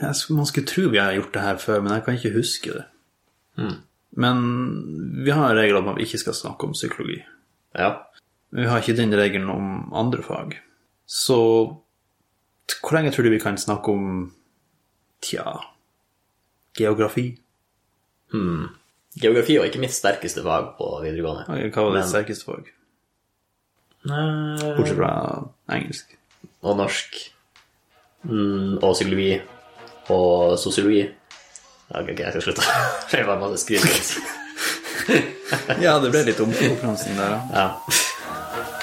jeg skulle, Man skulle tro vi har gjort det her før, men jeg kan ikke huske det. Mm. Men vi har en regel om at vi ikke skal snakke om psykologi. Ja. Men vi har ikke den regelen om andre fag. Så t- hvor lenge tror du vi kan snakke om tja geografi? Geografi var ikke mitt sterkeste fag på videregående. Hva var ditt sterkeste fag? Nei. Bortsett fra engelsk. Og norsk. Mm, og psykologi. Og sosiologi. Ja, Ok, ok, jeg skal slutte. Det var masse skriving. Ja, det ble litt omkonkurransen der, ja. Ja.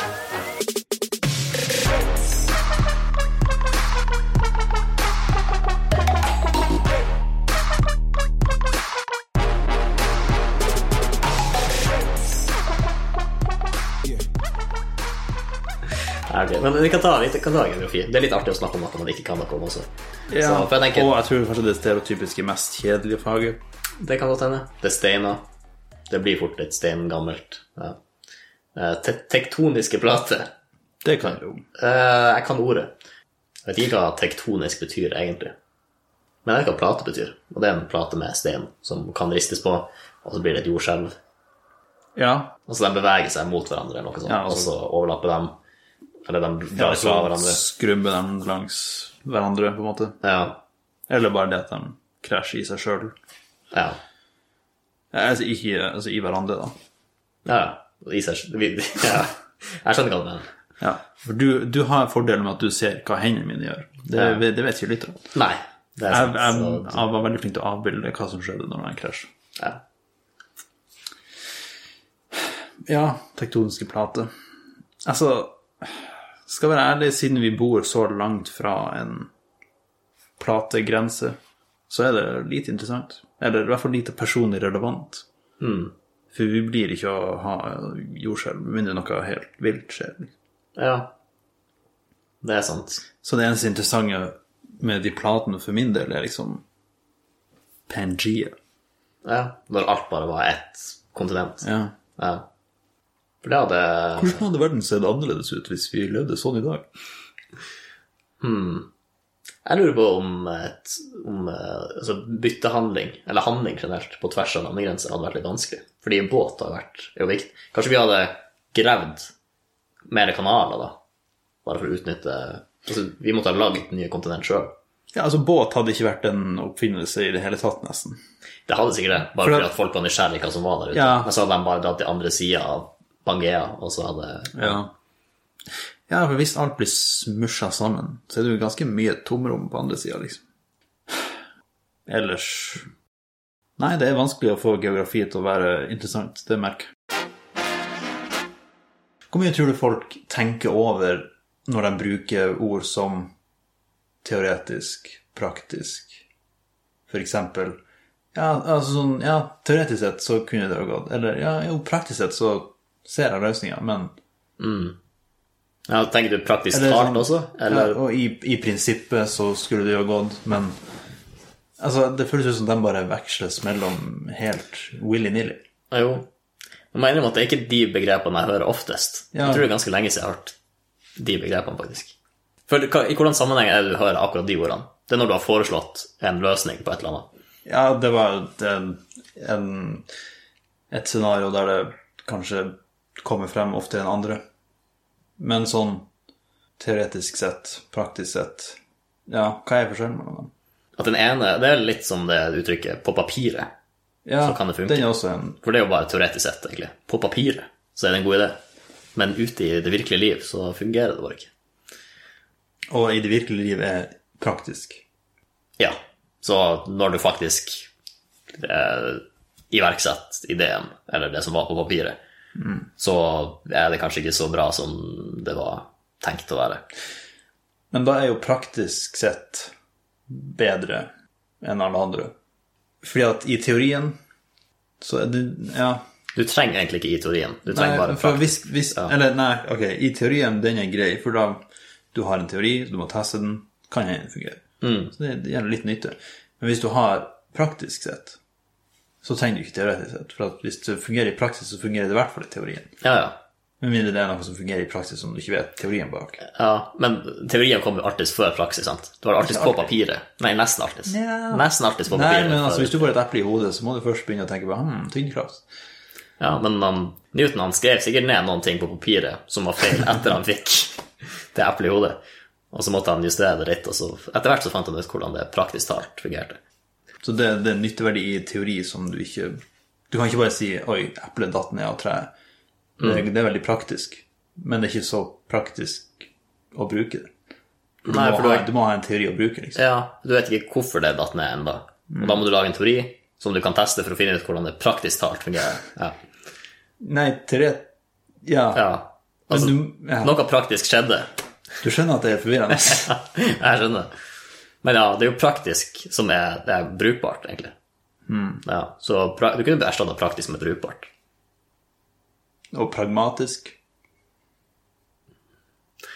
Ja, ok, Men vi kan ta, vi kan ta geografi. Det er litt artig å snakke om noe man ikke kan noe om også. ja. Så, for jeg tenker- Og jeg tror kanskje det stereotypiske mest kjedelige faget. Det kan godt hende. Det er steiner. Det blir fort et steingammelt. Ja. Eh, te tektoniske plater. Det kan du jo. Eh, jeg kan ordet. Jeg vet ikke hva tektonisk betyr egentlig. Men jeg vet hva plate betyr. Og det er en plate med stein som kan ristes på, og så blir det et jordskjelv. Ja. Og så de beveger seg mot hverandre, eller noe sånt, Ja, altså- og så overlapper dem. Eller de ja altså- drar fra så hverandre. skrubbe dem langs hverandre, på en måte. Ja. Eller bare det at de krasjer i seg sjøl. Ja. Altså, ikke altså, i hverandre, da. ja. I seg vi- ja. Jeg skjønner hva du mener. Ja. For du, du har en fordel med at du ser hva hendene mine gjør. Det, Ja. det vet ikke lytterne. Nei. Det er Jeg, sant. jeg, så- jeg var veldig flink til å avbilde hva som skjedde når jeg krasja. ja. Ja, tektoniske plater. Altså, skal være ærlig, siden vi bor så langt fra en plategrense, så er det lite interessant. Eller i hvert fall lite personlig relevant. Mm. For vi blir ikke å ha jordskjelv med mindre noe helt vilt skjer. ja. Det er sant. Så det eneste interessante med de platene for min del er liksom Pangea. Ja, når alt bare var ett kontinent. Ja. Ja. For det hadde Hvordan hadde verden sett annerledes ut hvis vi levde sånn i dag? Jeg lurer på om, et, om eh, altså byttehandling, eller handling generelt, på tvers av landegrenser hadde vært litt vanskelig. Fordi båt har vært er jo viktig. Kanskje vi hadde gravd mer kanaler, da. Bare for å utnytte altså, Vi måtte ha lagd nye kontinent sjøl. Ja, altså Båt hadde ikke vært en oppfinnelse i det hele tatt, nesten. Det hadde sikkert det, bare For det- fordi at folk var nysgjerrige hva som var der ute. Ja. Men så hadde de bare dratt til andre sida av Pangea, og så hadde Ja. ja, for hvis alt blir smusja sammen, så er det jo ganske mye tomrom på andre sida, liksom. Ellers Nei, det er vanskelig å få geografi til å være interessant, det merker jeg. Hvor mye tror du folk tenker over når de bruker ord som teoretisk, praktisk, for eksempel? Ja, altså sånn, ja, teoretisk sett så kunne det ha gått. Eller ja, jo, praktisk sett så ser jeg løsninga, men ja, Tenker du praktisk Eller talt sånn- også? Eller ja, og i, i prinsippet så skulle det jo ha gått, men altså, det føles ut som de bare veksles mellom helt willy-nilly. Ja, Jo. Jeg må innrømme at det er ikke de begrepene jeg hører oftest. Ja. Jeg tror det er ganske lenge siden jeg har hørt de begrepene, faktisk. For det- hva- I hvordan sammenheng er det du hører akkurat de ordene? Det er når du har foreslått en løsning på et eller annet. Ja, det var et, en- en, et scenario der det kanskje kommer frem oftere enn andre. Men sånn teoretisk sett, praktisk sett Ja, hva er forskjellen mellom dem? At den ene, Det er litt som det uttrykket 'på papiret'. Ja, Så kan det funke. Den er også en For det er jo bare teoretisk sett, egentlig. På papiret så er det en god idé. Men ute i det virkelige liv så fungerer det bare ikke. Og i det virkelige liv er praktisk. Ja. Så når du faktisk eh, iverksetter ideen, eller det som var på papiret, Mm. så er det kanskje ikke så bra som det var tenkt å være. Men da er jo praktisk sett bedre enn alle andre. Fordi at i teorien så er det Ja. Du trenger egentlig ikke i teorien. Du Nei, trenger bare for prakt- hvis, hvis, Eller nei, ok, i teorien den er grei, for da du har en teori, du må teste den, kan hende den fungerer. Mm. Så det, det gjelder litt nytte. Men hvis du har praktisk sett, så trenger du ikke teoretisk sett. For at hvis det fungerer i praksis, så fungerer det i hvert fall i teorien. Ja, ja. Med mindre det er noe som fungerer i praksis som du ikke vet teorien bak. Ja, men teorien kom jo artigst før praksis, sant? Det var artigst på papiret. Nei, nesten artigst. Nja. Nesten artigst på Nei, papiret. men altså, før- hvis du får et eple i hodet, så må du først begynne å tenke på hm, tyngdekraft. Ja, men han, Newton han skrev sikkert ned noen ting på papiret som var feil etter han fikk det eplet i hodet. Og så måtte han justere det litt, og så etter hvert så fant han ut hvordan det praktisk talt fungerte. Så det, det er nytteverdi i teori som du ikke Du kan ikke bare si 'oi, eplet datt ned av treet'. Det, Mm. det er veldig praktisk, men det er ikke så praktisk å bruke det. Du, Nei, må, for du ha, har- du må ha en teori å bruke, liksom. Ja, du vet ikke hvorfor det datt ned ennå. Og da må du lage en teori som du kan teste for å finne ut hvordan det praktisk talt fungerer. Ja, Nei, teori Ja. ja. men Altså, du, ja. noe praktisk skjedde. du skjønner at det er forvirrende? Jeg skjønner. Men ja, det er jo praktisk som er, det er brukbart, egentlig. Mm. Ja, så pra du kunne erstatta praktisk med brukbart. Og pragmatisk.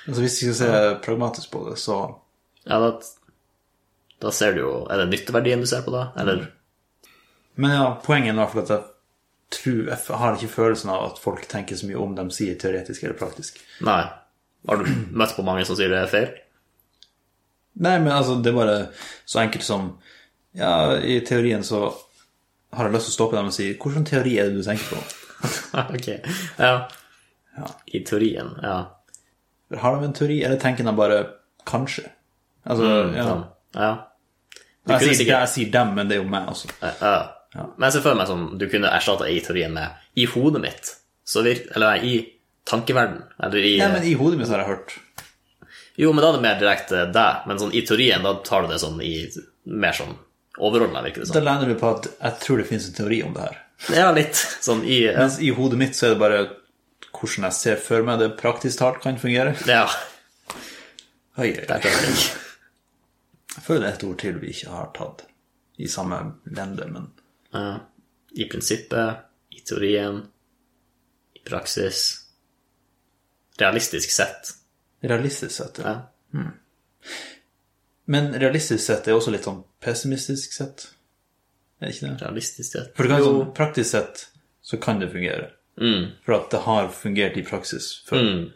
Altså Hvis vi skal se pragmatisk på det, så Ja, da, da ser du jo Er det nytteverdien du ser på da, eller? Men ja, poenget er i hvert fall at jeg tror Jeg har ikke følelsen av at folk tenker så mye om de sier teoretisk eller praktisk. Nei. Har du møtt på mange som sier det er feil? Nei, men altså, det er bare så enkelt som Ja, i teorien så har jeg lyst til å stoppe dem og si Hvilken teori er det du tenker på? Ah, ok. Ja. I teorien, ja. Har de en teori, eller tenker de bare kanskje? Altså, ja. Sånn. ja. Jeg Du kunne sier, sikkert jeg sier dem, men det er jo meg også. ja, ja. Men jeg ser for meg som du kunne erstatta i teorien med i hodet mitt, så vir eller nei, i tankeverden, eller i Nei, men i hodet mitt har jeg hørt Jo, men da er det mer direkte deg, men sånn i teorien, da tar du det sånn i mer sånn overordna, virker det Da som. lander vi på at jeg tror det finnes en teori om det her. Ja, litt sånn i ja. Mens i hodet mitt så er det bare hvordan jeg ser for meg det praktisk talt kan fungere. Oi, oi, oi. Der tar jeg den. Jeg føler det er et ord til vi ikke har tatt i samme lende, men Ja. Eh, I prinsippet, i teorien, i praksis. Realistisk sett. realistisk sett. Hmm. Ja. Men realistisk sett er også litt sånn pessimistisk sett, er det ikke det? Realistisk sett. For det kan, sånn, praktisk sett så kan det fungere, Mm. for at det har fungert i praksis før. Mm.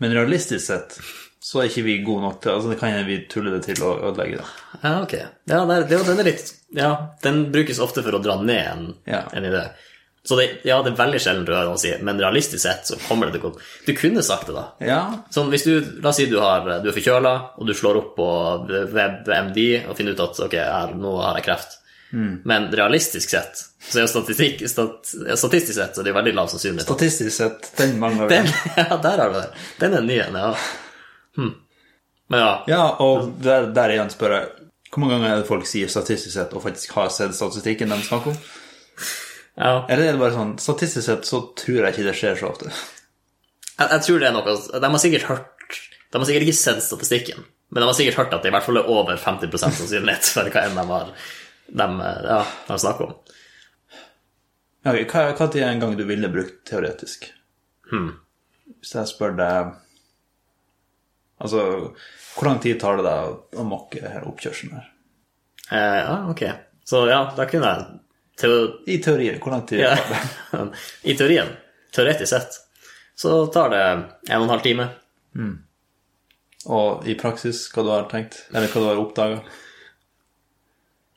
Men realistisk sett så er ikke vi gode nok til Altså, det kan hende vi tuller det til å ødelegge det. Ja, ok. Ja, nei, det, den er litt Ja, den brukes ofte for å dra ned en, Ja. en idé. Så det, ja, det er veldig sjelden du hører noen si men realistisk sett så kommer det til å gå Du kunne sagt det, da. Ja, Sånn, hvis du, La oss si du, har, du er forkjøla, og du slår opp på WebMD og finner ut at ok, her, nå har jeg kreft. Men realistisk sett, så er jo statistikk, stat, statistisk sett så er det jo veldig lav sannsynlighet. statistisk sett, den mangler vi. Den, ja, der har du det. Den er ny en, ja. Hm. Men ja, Ja, og der, der igjen spør jeg Hvor mange ganger er det folk sier statistisk sett og faktisk har sett statistikken de snakker om? ja. Eller er det bare sånn Statistisk sett så tror jeg ikke det skjer så ofte. Jeg, jeg tror det er noe De har sikkert hørt De har sikkert ikke sett statistikken, men de har sikkert hørt at det i hvert fall er over 50 sannsynlighet for hva enn de har de, ja, de snakker om. Ja, ok, hva, hva tid er en gang du ville brukt teoretisk? Hmm. Hvis jeg spør deg Altså, hvor lang tid tar det deg å- å mokke her oppkjørselen her? Eh, ja, ok. Så ja, da kunne jeg teo I teorien, hvor lang tid Ja. tar det? I teorien, teoretisk sett, så tar det en og en halv time. Og i praksis, hva du har tenkt? Eller hva du har oppdaga?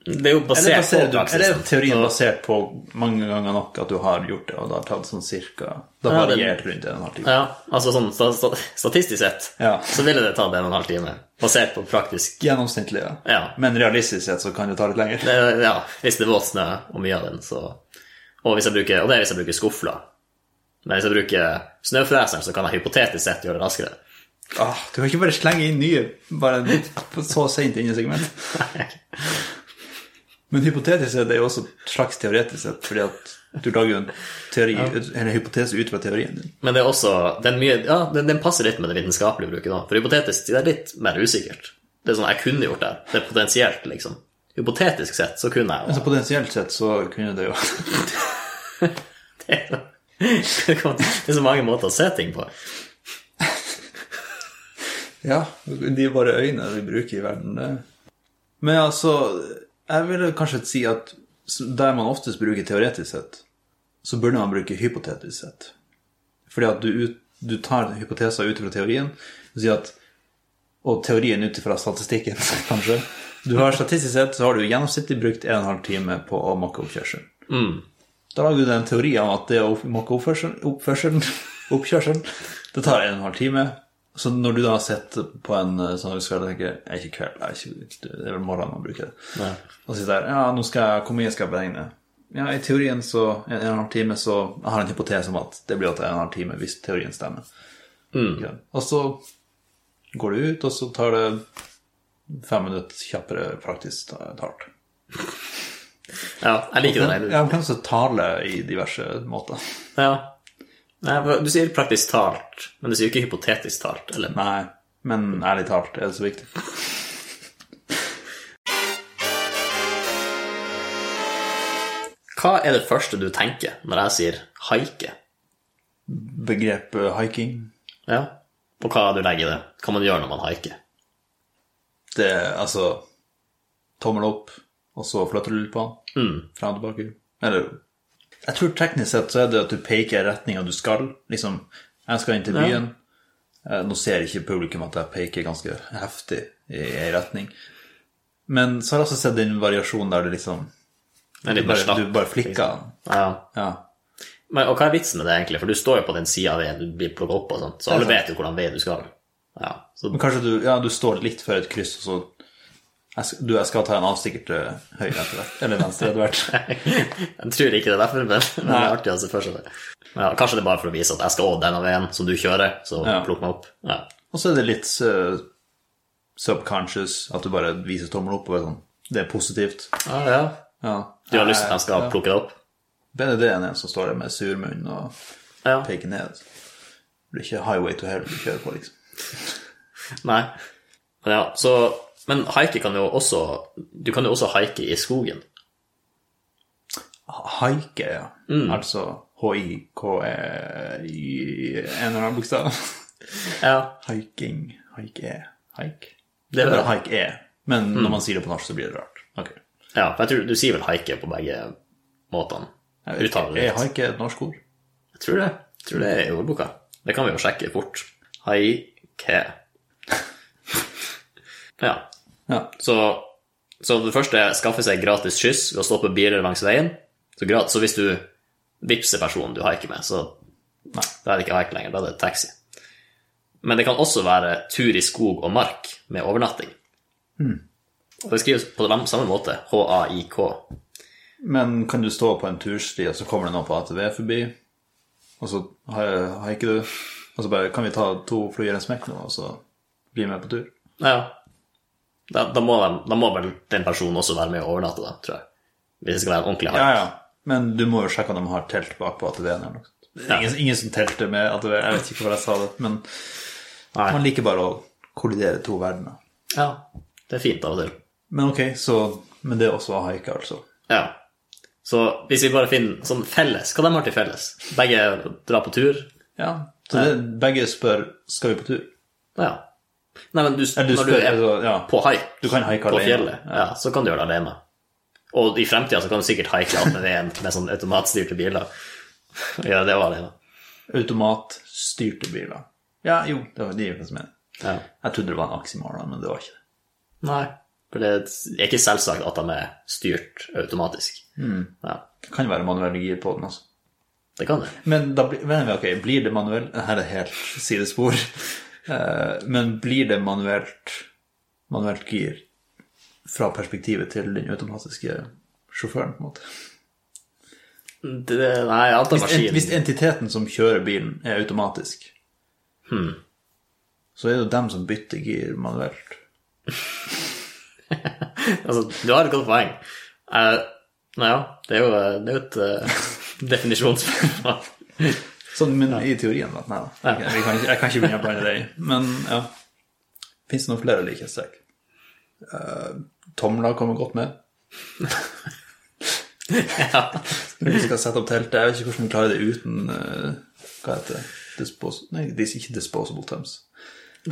Det er jo Eller, basert baserer på du- eller er praksisen. teorien basert på mange ganger nok at du har gjort det, og det har tatt sånn cirka Det har Ja, det- variert rundt en og en halv time? Ja, altså sånn sta sta statistisk sett, Ja. så ville det tatt en og en halv time. Basert på praktisk Gjennomsnittlig, ja. Ja. Men realistisk sett så kan det ta litt lenger. Eh, Ja, hvis det er våt snø og mye av den, så Og, hvis jeg bruker, og det er hvis jeg bruker skufla. Men hvis jeg bruker snøfreseren, så kan jeg hypotetisk sett gjøre det raskere. Åh, Ah, du kan ikke bare slenge inn nye bare på så sent inn i segmentet. Men hypotetisk sett er jo også et slags teoretisk sett, fordi at du lager jo en, teori, en hypotese ut fra teorien din. Men det er også, den, mye, ja, den, den passer litt med det vitenskapelige bruket nå. For hypotetisk det er litt mer usikkert. Det er sånn, jeg kunne gjort det. Det er potensielt, liksom. Hypotetisk sett så kunne jeg Så potensielt sett så kunne det jo det. Det er så mange måter å se ting på. Ja, de bare øynene vi bruker i verden, det Men altså, jeg ville kanskje si at der man oftest bruker teoretisk sett, så burde man bruke hypotetisk sett. Fordi at du ut... du tar hypoteser ut fra teorien du sier at, og teorien ut fra statistikken, kanskje. Du har Statistisk sett så har du gjennomsnittlig brukt 1 12 time på å mokke oppkjørselen. Da lager du deg en teori om at det å opp- mokke oppførselen, oppførselen oppkjørselen, det tar 1 12 time. Så når du da har sett på en eh, sånn skal jeg tenker jeg ikke kveld, jeg er ikke, det er vel morgenen man bruker det. Ja. Og sitter der, ja, nå skal jeg, hvor mye skal jeg beregne? Ja, i teorien så, en, en og en halv time, så jeg har en hypotese om at det blir at en og en halv time hvis teorien stemmer. Ja. Og så går du ut, og så tar det fem minutter kjappere praktisk ta- talt. ja, jeg liker den. Ja, man kan også tale i diverse måter. Ja. Nei, for du sier praktisk talt, men du sier ikke hypotetisk talt. Eller? Nei, men ærlig talt, er det så viktig? Hva er det første du tenker når jeg sier haike? Begrepet eh, hiking, Ja. Og hva du legger i det? Hva man gjør når man haiker? det er altså tommel opp, og så flytter du litt på den. Mm. Fram og tilbake. Eller Jeg tror teknisk sett så er det at du peker i retninga du skal. Liksom, jeg skal inn til byen. Eh, Nå ser ikke publikum at jeg peker ganske heftig i ei retning. Men så har jeg også sett den variasjonen der du liksom En litt mer bare, slapp. Du bare flikker den. Ja. Ja. Men, og hva er vitsen med det, egentlig? For du står jo på den sida av veien du blir plukka opp, og sånt, så alle sant. vet jo hvordan vei du skal. Ja, så, Men kanskje du, ja, du står litt før et kryss, og så jeg skal, Du, jeg skal ta en avstikker til høyre etter hvert. Eller venstre etter hvert. jeg tror ikke det er derfor, men, men det er artig å se for seg det. Men Ja, kanskje det er bare for å vise at jeg skal over denne veien som du kjører, så Ja. plukk meg opp. Ja. Og så er det litt eh, subconscious, at du bare viser tommel opp og er sånn Det er positivt. Ja, ja. Ja. Du har lyst til at jeg skal Ja. plukke deg opp? Bedre det enn en som står der med sur munn og Ja. peker ned. Det blir ikke highway to hell du kjører på, liksom. Nei. Men ja, så Men haike kan jo også Du kan jo også haike i skogen. Haike, ja. Altså E h-i-k-e-i en E eller annen bokstav. Ja. Hiking. Haike. Haik. Det Det er er bare bra. haik-e. Men når man sier det på norsk, så blir det rart. Ok. ja for jeg tror du sier vel haike på begge måtene. Uttaler det E, Er litt. haike et norsk ord? Jeg tror det. Jeg tror det er i ordboka. Det kan vi jo sjekke fort. Haike. Ja. Ja. Så, så det første er skaffe seg gratis skyss ved å stoppe biler langs veien. Så, grat- så hvis du vippser personen du haiker med, så nei, da er det ikke haik lenger, da er det taxi. Men det kan også være tur i skog og mark med overnatting. Og det skrives på den samme måte, H-A-I-K. Men kan du stå på en tursti, og så kommer det noen på ATV forbi, og så har- haiker du, og så bare Kan vi ta to flyer i en smekk nå, og så bli med på tur? Ja. Da, da, må de, da må vel den personen også være med og overnatte, da, tror jeg. Hvis det skal være en ordentlig haik. Ja, ja. Men du må jo sjekke om de har telt bak på ATV-en eller noe. Det er Ingen, ingen som telter med ATV, jeg vet ikke hvorfor jeg sa det, men Nei. man liker bare å kollidere to verdener. Ja. Det er fint av og til. Men ok, så Men det er også å haike, altså. Ja. Så hvis vi bare finner sånn felles, hva de har til felles? Begge drar på tur? Ja. Så det, begge spør skal vi på tur. Ja. Nei, men du, Eller du når du spør er altså, ja. på haik Du kan haike på alene. fjellet, ja. så kan du gjøre det alene. Og i fremtida så kan du sikkert haike attmed veien med sånn automatstyrte biler. Ja, det var alene. Automatstyrte biler. Ja, jo, det var- det gir faktisk mening. Ja. Jeg trodde det var en aksimal, da, men det var ikke det. Nei. For det er ikke selvsagt at de er styrt automatisk. Mm. Ja, Det kan jo være manuell gir på den, altså. det kan det. Men da blir, men, ok, blir det manuell Her er det helt sidespor. Eh, Men blir det manuelt, manuelt gir fra perspektivet til den automatiske sjåføren, på en måte? det nei, jeg antar En, maskinen hvis entiteten som kjører bilen, er automatisk, Hmm. så er det jo dem som bytter gir manuelt. Altså, du har et godt poeng. Uh, ja, det er jo, det er jo et eh, definisjonsspørsmål. Sånn, men i teorien, da. Nei da. Ja. Jeg kan ikke, jeg kan ikke begynne å blande det i. Men ja. Fins det noen flere likhetstrekk? Eh, tomler kommer godt med. ja. Når de skal sette opp teltet Jeg vet ikke hvordan de klarer det uten eh, Hva heter det? Dispos Nei, de sier ikke disposable thumbs. Eh,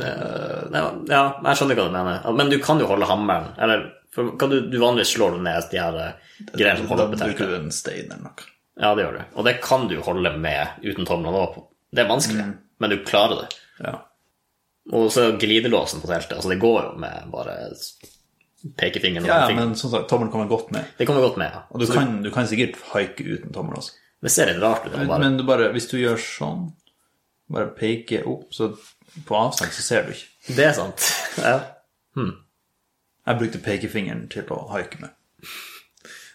nei, ja, jeg skjønner hva du mener. Men du kan jo holde hammeren. Eller for, kan du, du vanligvis slår du ned de her eh, greiene som Da holder på bruker du teltet. en stein eller noe. Mm. Ja, det gjør du. Og det kan du holde med uten tomlene opp. Det er vanskelig. men du klarer det. Ja. Og så glidelåsen på teltet. Altså, det går jo med bare pekefingeren. og ja, men fingeren. som sagt, tommelen kommer godt med. Det kommer godt med. ja. Og du kan, du kan sikkert haike uten tommel også. Det ser litt rart ut. da, Bare. Men du bare, hvis du gjør sånn, bare peker opp, så på avstand så ser du ikke. Det er sant. Ja. Jeg brukte pekefingeren til å haike med.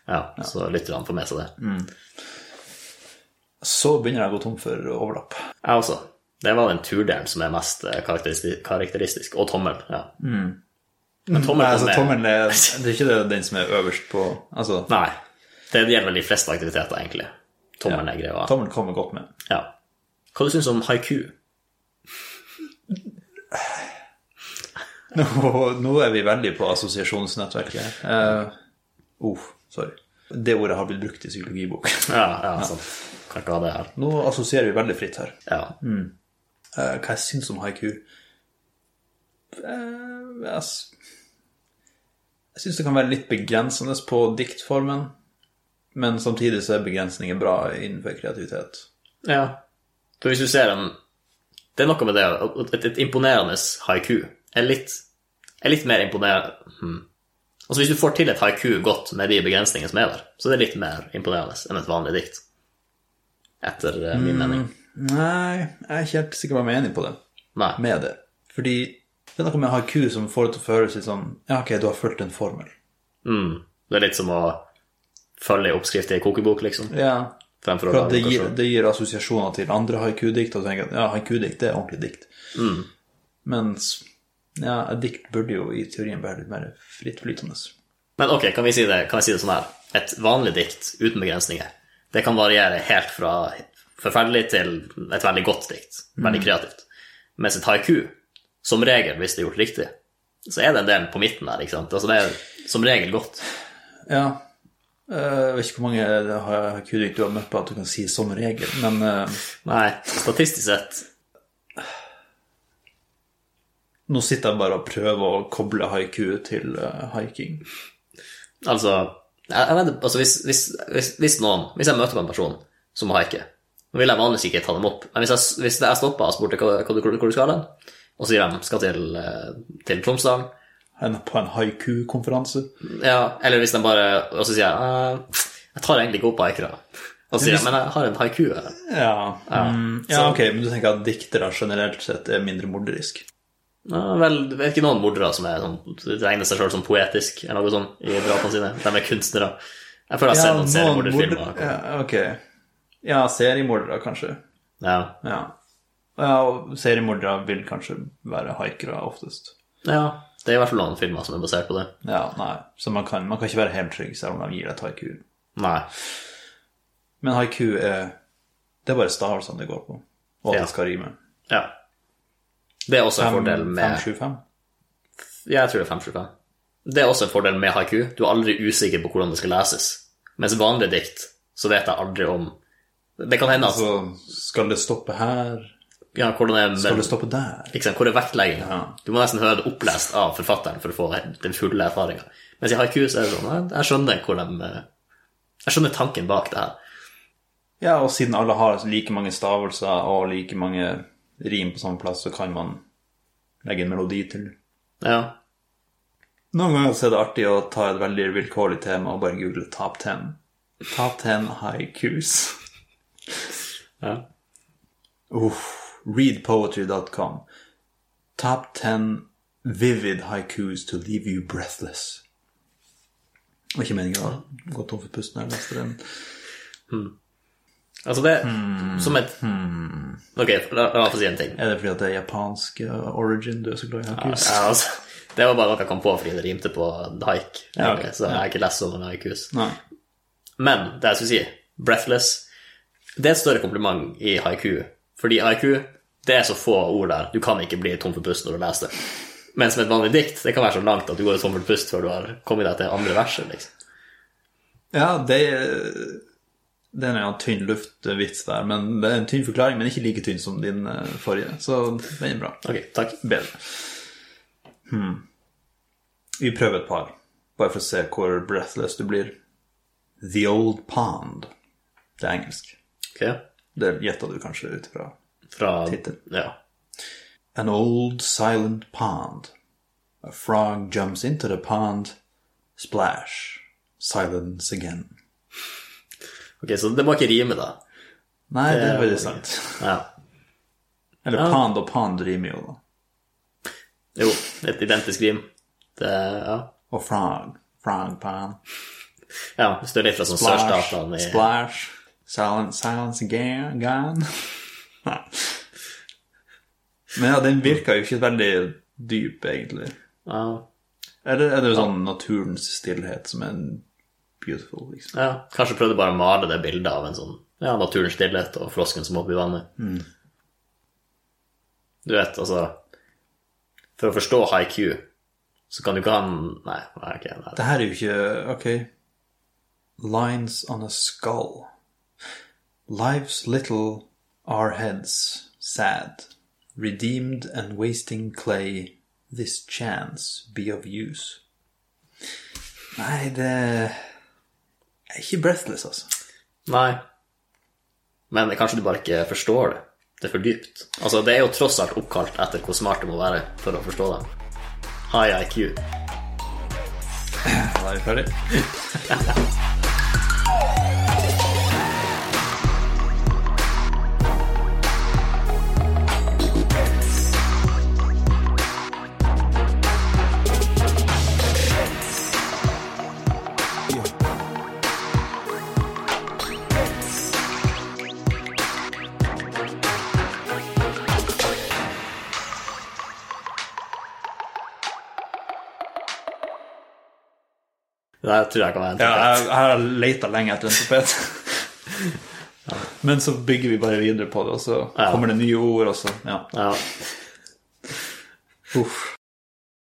ja, Så lytterne får med seg det. Så begynner jeg å gå tom for overlapp. Jeg også. Det var den turdelen som er mest eh, karakteristisk, karakteristisk. og tommel. ja. Men tommel Nei, altså, kom med. tommelen er, det er ikke det, den som er øverst på Altså, Nei, det gjelder vel de fleste aktiviteter, egentlig. Tommelen er greia. tommelen kommer godt med. Ja. Hva du syns du om haiku? Nå, nå er vi veldig på assosiasjonsnettverket. her. Eh, uff, sorry. Det ordet har blitt brukt i psykologibok. Ja, ja, sånn. sant. Kan ikke ha det her. Nå assosierer vi veldig fritt her. Ja. Eh, hva jeg syns om haiku Eh, Jeg, s- jeg syns det kan være litt begrensende på diktformen, men samtidig så er begrensninger bra innenfor kreativitet. ja. Så hvis du ser en Det er noe med det at et, et imponerende haiku er litt, er litt mer imponerende hmm. Altså Hvis du får til et haiku godt med de begrensningene som er der, så er det litt mer imponerende enn et vanlig dikt. Etter eh, Mm. min mening. Nei, jeg er ikke helt sikker på om jeg er enig på det. Nei. Med det. Fordi det er noe med haiku som får det til å føles litt sånn Ja, ok, du har fulgt en formel. Mm. Det er litt som å følge en oppskrift i en kokebok, liksom. Ja. Fremfor å For lage at det noe gir, selv. det gir assosiasjoner til andre haiku-dikt, og du tenker at ja, haiku-dikt det er ordentlig dikt. Mens ja, et dikt burde jo i teorien være litt mer frittflytende. Men ok, kan vi, si det, kan vi si det sånn her? Et vanlig dikt uten begrensninger, det kan variere helt fra forferdelig til et veldig godt dikt, veldig kreativt. Mens et haiku, som regel, hvis det er gjort riktig, så er det en del på midten der, ikke sant? Altså det er som regel godt. Ja. eh, Jeg vet ikke hvor mange haiku-dikt du har møtt på at du kan si som regel, men eh, Nei, statistisk sett, nå sitter jeg bare og prøver å koble haiku til eh, haiking. altså, jeg, jeg vet, altså hvis, hvis, hvis, hvis noen, hvis jeg møter på en person som haiker, nå vil jeg vanligvis ikke ta dem opp, men hvis jeg, hvis jeg stopper og spurte hva, hva, du- hvor du skal hen, og så sier de skal til, eh, til Tromsdalen, En- På en haiku-konferanse. Ja, eller hvis de bare Og så sier jeg «Eh, Jeg tar egentlig ikke opp haikere. Og så sier jeg men jeg har en haiku her. Ja. Mm, ja, ok, men du tenker at diktere generelt sett er mindre morderisk? Ja, vel, det er ikke noen mordere som er sånn, regner seg sjøl som poetisk eller noe sånt i drapene sine. De er kunstnere. Jeg føler jeg har sett noen seriemorderfilmer. Ja, ok. Ja, seriemordere, kanskje. Ja. Ja. ja, og seriemordere vil kanskje være haikere oftest. ja, det er i hvert fall noen filmer som er basert på det. Ja, nei, så man kan, man kan ikke være helt trygg selv om de gir deg et haiku. Nei. Men haiku er Det er bare stavelsene det går på, og at Ja. det skal rime. Ja. Det er også en fordel med 575? Ja, jeg tror det er 525. Det er også en fordel med haiku. Du er aldri usikker på hvordan det skal leses. Mens vanlige dikt, så vet jeg aldri om Det kan hende at Altså, skal det stoppe her? Ja, hvordan er, Skal det stoppe der? ikke sant, hvor er vektleggingen? Du må nesten høre det opplest av forfatteren for å få den fulle erfaringa. Mens i haiku så er det sånn jeg- Jeg skjønner hvor de eh, Jeg skjønner tanken bak det her. Ja, og siden alle har like mange stavelser og like mange rim på samme plass, så kan man legge en melodi til. Ja. Noen ganger så er det artig å ta et veldig vilkårlig tema og bare google 'top 10'. Top 10 haikus. Ja. Uff. Readpoetry.com. Top 10 vivid haikus to leave you breathless. Det var ikke meningen å gå tom for pusten her leste den. Altså, det Hmm. Som et Ok, la, la meg få si en ting. Er det fordi at det er japansk eh, origin du er så glad i haikus? Ja, altså, det var bare noe jeg kom på fordi det rimte på haik, Ja, ok. egentlig, så jeg har ikke lest så mange haikus. Nei. Men det jeg skulle si, breathless, det er et større kompliment i haiku. Fordi haiku, det er så få ord der, du kan ikke bli tom for pust når du leser det. Mens med et vanlig dikt, det kan være så langt at du går tom for pust før du har kommet deg til andre verset, liksom. Ja, det, det er en tynn luftvits der, men det er en tynn forklaring, men ikke like tynn som din eh, forrige, så den er bra. Ok, takk. Bedre. Hmm. Vi prøver et par, bare for å se hvor breathless du blir. The Old Pond. Det er engelsk. Ok, Det gjetta du kanskje ut ifra Fra Tittel. Ja. An old silent pond. A frog jumps into the pond. Splash. Silence again. Ok, så det må ikke rime, da. Nei, det er var veldig det sant. Ja. Eller Ja. pond og pond rimer jo, da. Jo, et identisk rim. Det, ja. Og frog. Frog pond. ja, hvis du er litt fra sånn Splash. sørstatene i Splash. Silence, silence again. gone. Nei. Men ja, den virka jo ikke veldig dyp, egentlig. ja, Eller er det jo sånn naturens stillhet som er en beautiful, liksom? ja. Kanskje prøvde bare å male det bildet av en sånn ja, naturens stillhet og frosken som hopper i vannet. Mm. Du vet, altså For å forstå haiku, så kan du ikke ha en Nei, nei, ok. Nei. Det her er jo ikke Ok. Lines on a skull. Lives little are heads, sad. Redeemed and wasting clay, this chance be of use. Nei, det er ikke breathless, altså. nei. Men kanskje du bare ikke forstår det. Det er for dypt. Altså, det er jo tross alt oppkalt etter hvor smart du må være for å forstå det. High IQ. Da er vi ferdig. Det der tror jeg kan være en Ja, tapet. jeg, jeg har leita lenge etter en tapet. Men så bygger vi bare videre på det, og så Ja. kommer det nye ord, og så Ja. Ja. Uff.